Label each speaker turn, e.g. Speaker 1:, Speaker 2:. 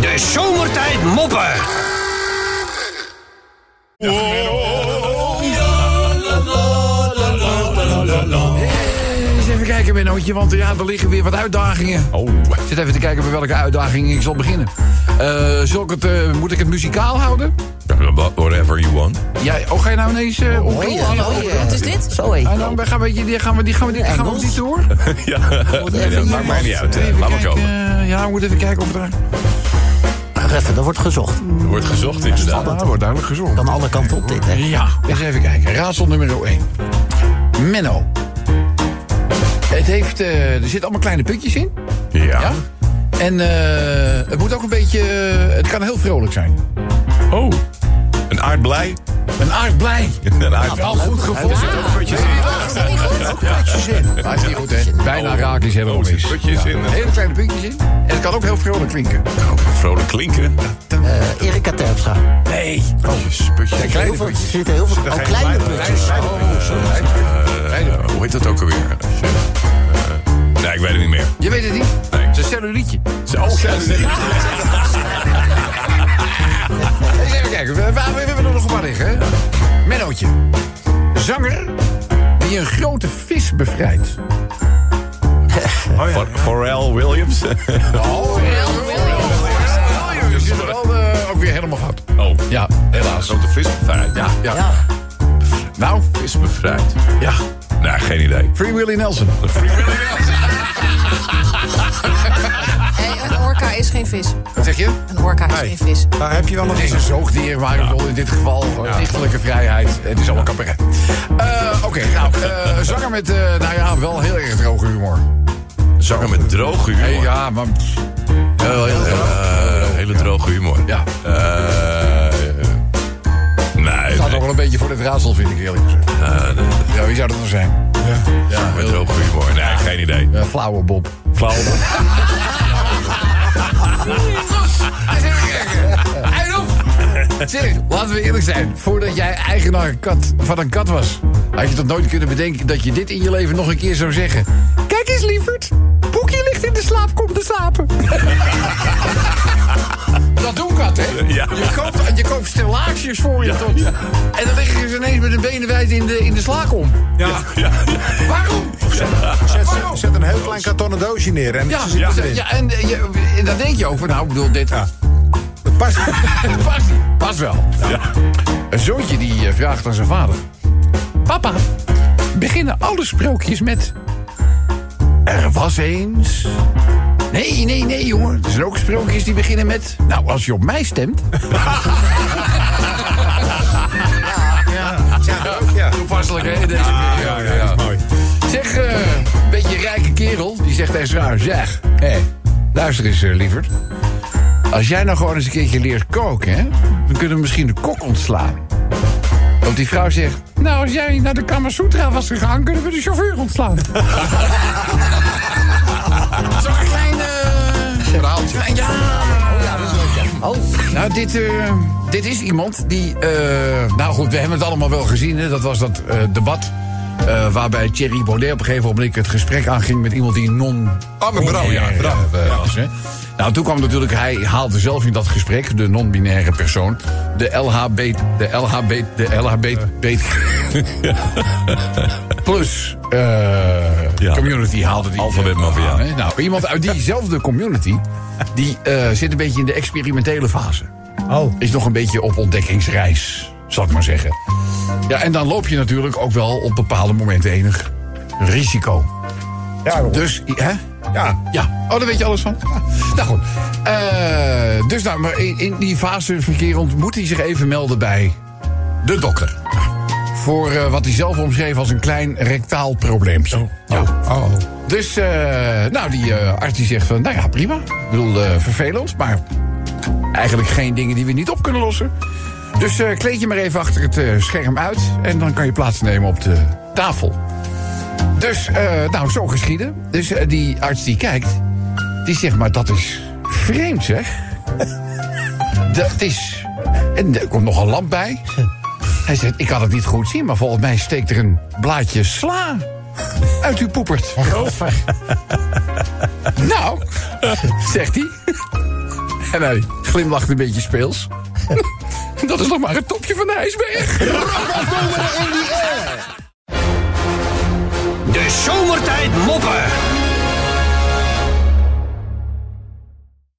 Speaker 1: De zomertijd moppen.
Speaker 2: Eens even kijken, Bennootje, want ja, er liggen weer wat uitdagingen. Oh. Zit even te kijken bij welke uitdaging ik zal beginnen. Eh, zal ik het, eh, moet ik het muzikaal houden?
Speaker 3: Whatever you want.
Speaker 2: Ja, oh, ga je nou ineens... eh oh,
Speaker 4: Wat is dit?
Speaker 5: Zo hé.
Speaker 2: nou, we gaan, we, die gaan we, die gaan we, die gaan we op die tour.
Speaker 3: ja, nee, dat maakt mij niet uit. hè.
Speaker 2: Even
Speaker 3: Laat maar
Speaker 2: kijken,
Speaker 3: komen.
Speaker 2: eh, ja, we moeten even kijken of er...
Speaker 5: Wacht even, er wordt gezocht.
Speaker 3: Er wordt gezocht inderdaad.
Speaker 2: Nou, wordt duidelijk gezond.
Speaker 5: Kan alle kanten op dit, hè?
Speaker 2: Ja, eens even kijken. Raadsel nummer 1. Menno. Het heeft, eh, er zitten allemaal kleine puntjes in.
Speaker 3: Ja.
Speaker 2: En eh, het moet ook een beetje... eh, het kan heel vrolijk zijn.
Speaker 3: Oh. Een aardblij.
Speaker 2: Een aardblij.
Speaker 3: Een aardblij.
Speaker 2: Al goed gevonden.
Speaker 3: Er zitten ook putjes in.
Speaker 2: Puntjes in. Maar is niet goed, hè? Bijna raak is helemaal
Speaker 3: Oh, er
Speaker 2: mis.
Speaker 3: zitten putjes in.
Speaker 2: Hele kleine puntjes in. En het kan ook heel vrolijk klinken.
Speaker 3: Nou, Vrolijk klinken. Oh,
Speaker 5: Eh, Erika Terpstra.
Speaker 2: Nee.
Speaker 3: Putjes, putjes.
Speaker 2: Ja, kleine
Speaker 5: Heel veel, er
Speaker 2: puntjes.
Speaker 5: zitten heel veel...
Speaker 3: Daar
Speaker 5: Oh,
Speaker 3: ga je
Speaker 5: kleine
Speaker 3: bijna-
Speaker 5: puntjes.
Speaker 3: Kleine puntjes. Eh, Hoe heet dat ook alweer? Als je, eh, Nee, ik weet het niet meer.
Speaker 2: Je weet het niet.
Speaker 3: Nee.
Speaker 2: Het is een cellulietje.
Speaker 3: Zo,
Speaker 2: Oh, Eens Eh, even kijken. We, we, we hebben er nog een paar liggen, hè? Mennootje. Zanger die een grote vis bevrijdt.
Speaker 3: Pharrell Williams.
Speaker 2: Oh, heel Je zit er al eh, ook weer helemaal fout.
Speaker 3: Oh,
Speaker 2: Ja, helaas.
Speaker 3: grote vis bevrijd. Ja,
Speaker 2: Ja.
Speaker 5: Ja.
Speaker 2: Nou,
Speaker 3: vis bevrijd.
Speaker 2: ja.
Speaker 3: Nee, Nou, geen idee.
Speaker 2: Free Willy Nelson.
Speaker 4: Hey, een orka is geen vis.
Speaker 2: Wat zeg je?
Speaker 4: Een orka is geen vis.
Speaker 6: Daar heb je wel nog
Speaker 2: Het is een zoogdier, maar ik bedoel in dit geval eh, dichterlijke vrijheid. Het is allemaal cabaret. Eh, Oké, nou, eh, zanger met, eh, nou ja, wel heel erg droge humor.
Speaker 3: Zanger met droge humor.
Speaker 2: Hey, ja, maar...
Speaker 3: Heel, heel, eh, hele droge humor.
Speaker 2: Ja.
Speaker 3: Eh, nee,
Speaker 2: Staat
Speaker 3: nee.
Speaker 2: ook wel een beetje voor het raadsel, vind ik eerlijk gezegd. Ja, wie zou dat nou zijn? Ja,
Speaker 3: Met
Speaker 2: heel-
Speaker 3: droge humor. Nee, geen idee.
Speaker 2: eh, flauwe Bob.
Speaker 3: Flauw.
Speaker 2: Eind op! Zeg, laten we eerlijk zijn. Voordat jij eigenaar een kat, van een kat was... had je toch nooit kunnen bedenken dat je dit in je leven nog een keer zou zeggen. Kijk eens, lieverd. Boekje ligt in de slaapkom te slapen. dat doen katten, hè?
Speaker 3: Ja.
Speaker 2: Je koopt, je koopt stellages voor je tot... En dan liggen ze ineens met hun benen wijd in de, in de slaakom.
Speaker 3: Ja. ja.
Speaker 2: Waarom? Waarom?
Speaker 6: Zet, zet een heel klein kartonnen doosje neer en
Speaker 2: Ja,
Speaker 6: ze
Speaker 2: ja,
Speaker 6: zitten erin.
Speaker 2: en eh, je, en dan denk je ook van, nou, ik bedoel, dit...
Speaker 6: Dat past.
Speaker 2: Past, past wel.
Speaker 3: Ja.
Speaker 2: Een zoontje die eh, vraagt aan zijn vader. Papa, beginnen alle sprookjes met... Er was eens... Nee, nee, nee, jongen. Er zijn ook sprookjes die beginnen met... Nou, als je op mij stemt...
Speaker 6: Ja, ook, ja.
Speaker 2: Toepasselijk, hè? in Deze
Speaker 6: Ja,
Speaker 2: periode,
Speaker 6: ja, dat is mooi.
Speaker 2: Zeg, eh, een beetje rijke kerel, die zegt tegen zijn vrouw... Zeg, hé, luister eens, eh, lieverd. Als jij nou gewoon eens een keertje leert koken, hè... dan kunnen we misschien de kok ontslaan. Want die vrouw zegt... Nou, als jij naar de Kamasutra was gegaan... kunnen we de chauffeur ontslaan. Zo'n klein... eh, verhaaltje. Ja,
Speaker 5: Oh,
Speaker 2: nou, dit, eh, dit is iemand die. eh, nou goed, we hebben het allemaal wel gezien. Hè? Dat was dat eh, debat. eh, waarbij Thierry Baudet op een gegeven moment het gesprek aanging met iemand die non.
Speaker 6: Oh, met Bram, ja,
Speaker 2: non-binair,
Speaker 6: Bram.
Speaker 2: eh, was. Hè? Nou, toen kwam natuurlijk, hij haalde zelf in dat gesprek, de non-binaire persoon, de LHB. de LHB. de LHB. plus eh,
Speaker 3: Ja.
Speaker 2: community haalde die.
Speaker 3: Alfabet
Speaker 2: eh,
Speaker 3: Mafia.
Speaker 2: aan, hè? Nou, iemand uit diezelfde community, die eh, zit een beetje in de experimentele fase
Speaker 6: Oh.
Speaker 2: is nog een beetje op ontdekkingsreis, zal ik maar zeggen. Ja, en dan loop je natuurlijk ook wel op bepaalde momenten enig risico.
Speaker 6: Ja, hoor.
Speaker 2: Dus, i- hè?
Speaker 6: ja.
Speaker 2: Ja. Oh, daar weet je alles van. Ja. Nou goed. Eh, dus nou, maar in, in die fase verkerend moet hij zich even melden bij de dokter. Voor eh, wat hij zelf omschreef als een klein rectaal probleempje. Ja.
Speaker 6: Oh.
Speaker 2: Dus, eh, nou, die eh, arts die zegt van, nou ja, prima. Ik bedoel, eh, vervelend, maar eigenlijk geen dingen die we niet op kunnen lossen. Dus eh, kleed je maar even achter het eh, scherm uit en dan kan je plaatsnemen op de tafel. Dus, eh, nou, zo geschieden. Dus eh, die arts die kijkt, die zegt, maar dat is vreemd, zeg. dat is... En er komt nog een lamp bij. Hij zegt, ik kan het niet goed zien, maar volgens mij steekt er een blaadje sla uit uw poepert. Nou, zegt hij. En hij glimlacht een beetje speels. Dat is nog maar het topje van de ijsberg.
Speaker 1: De zomertijd moppen.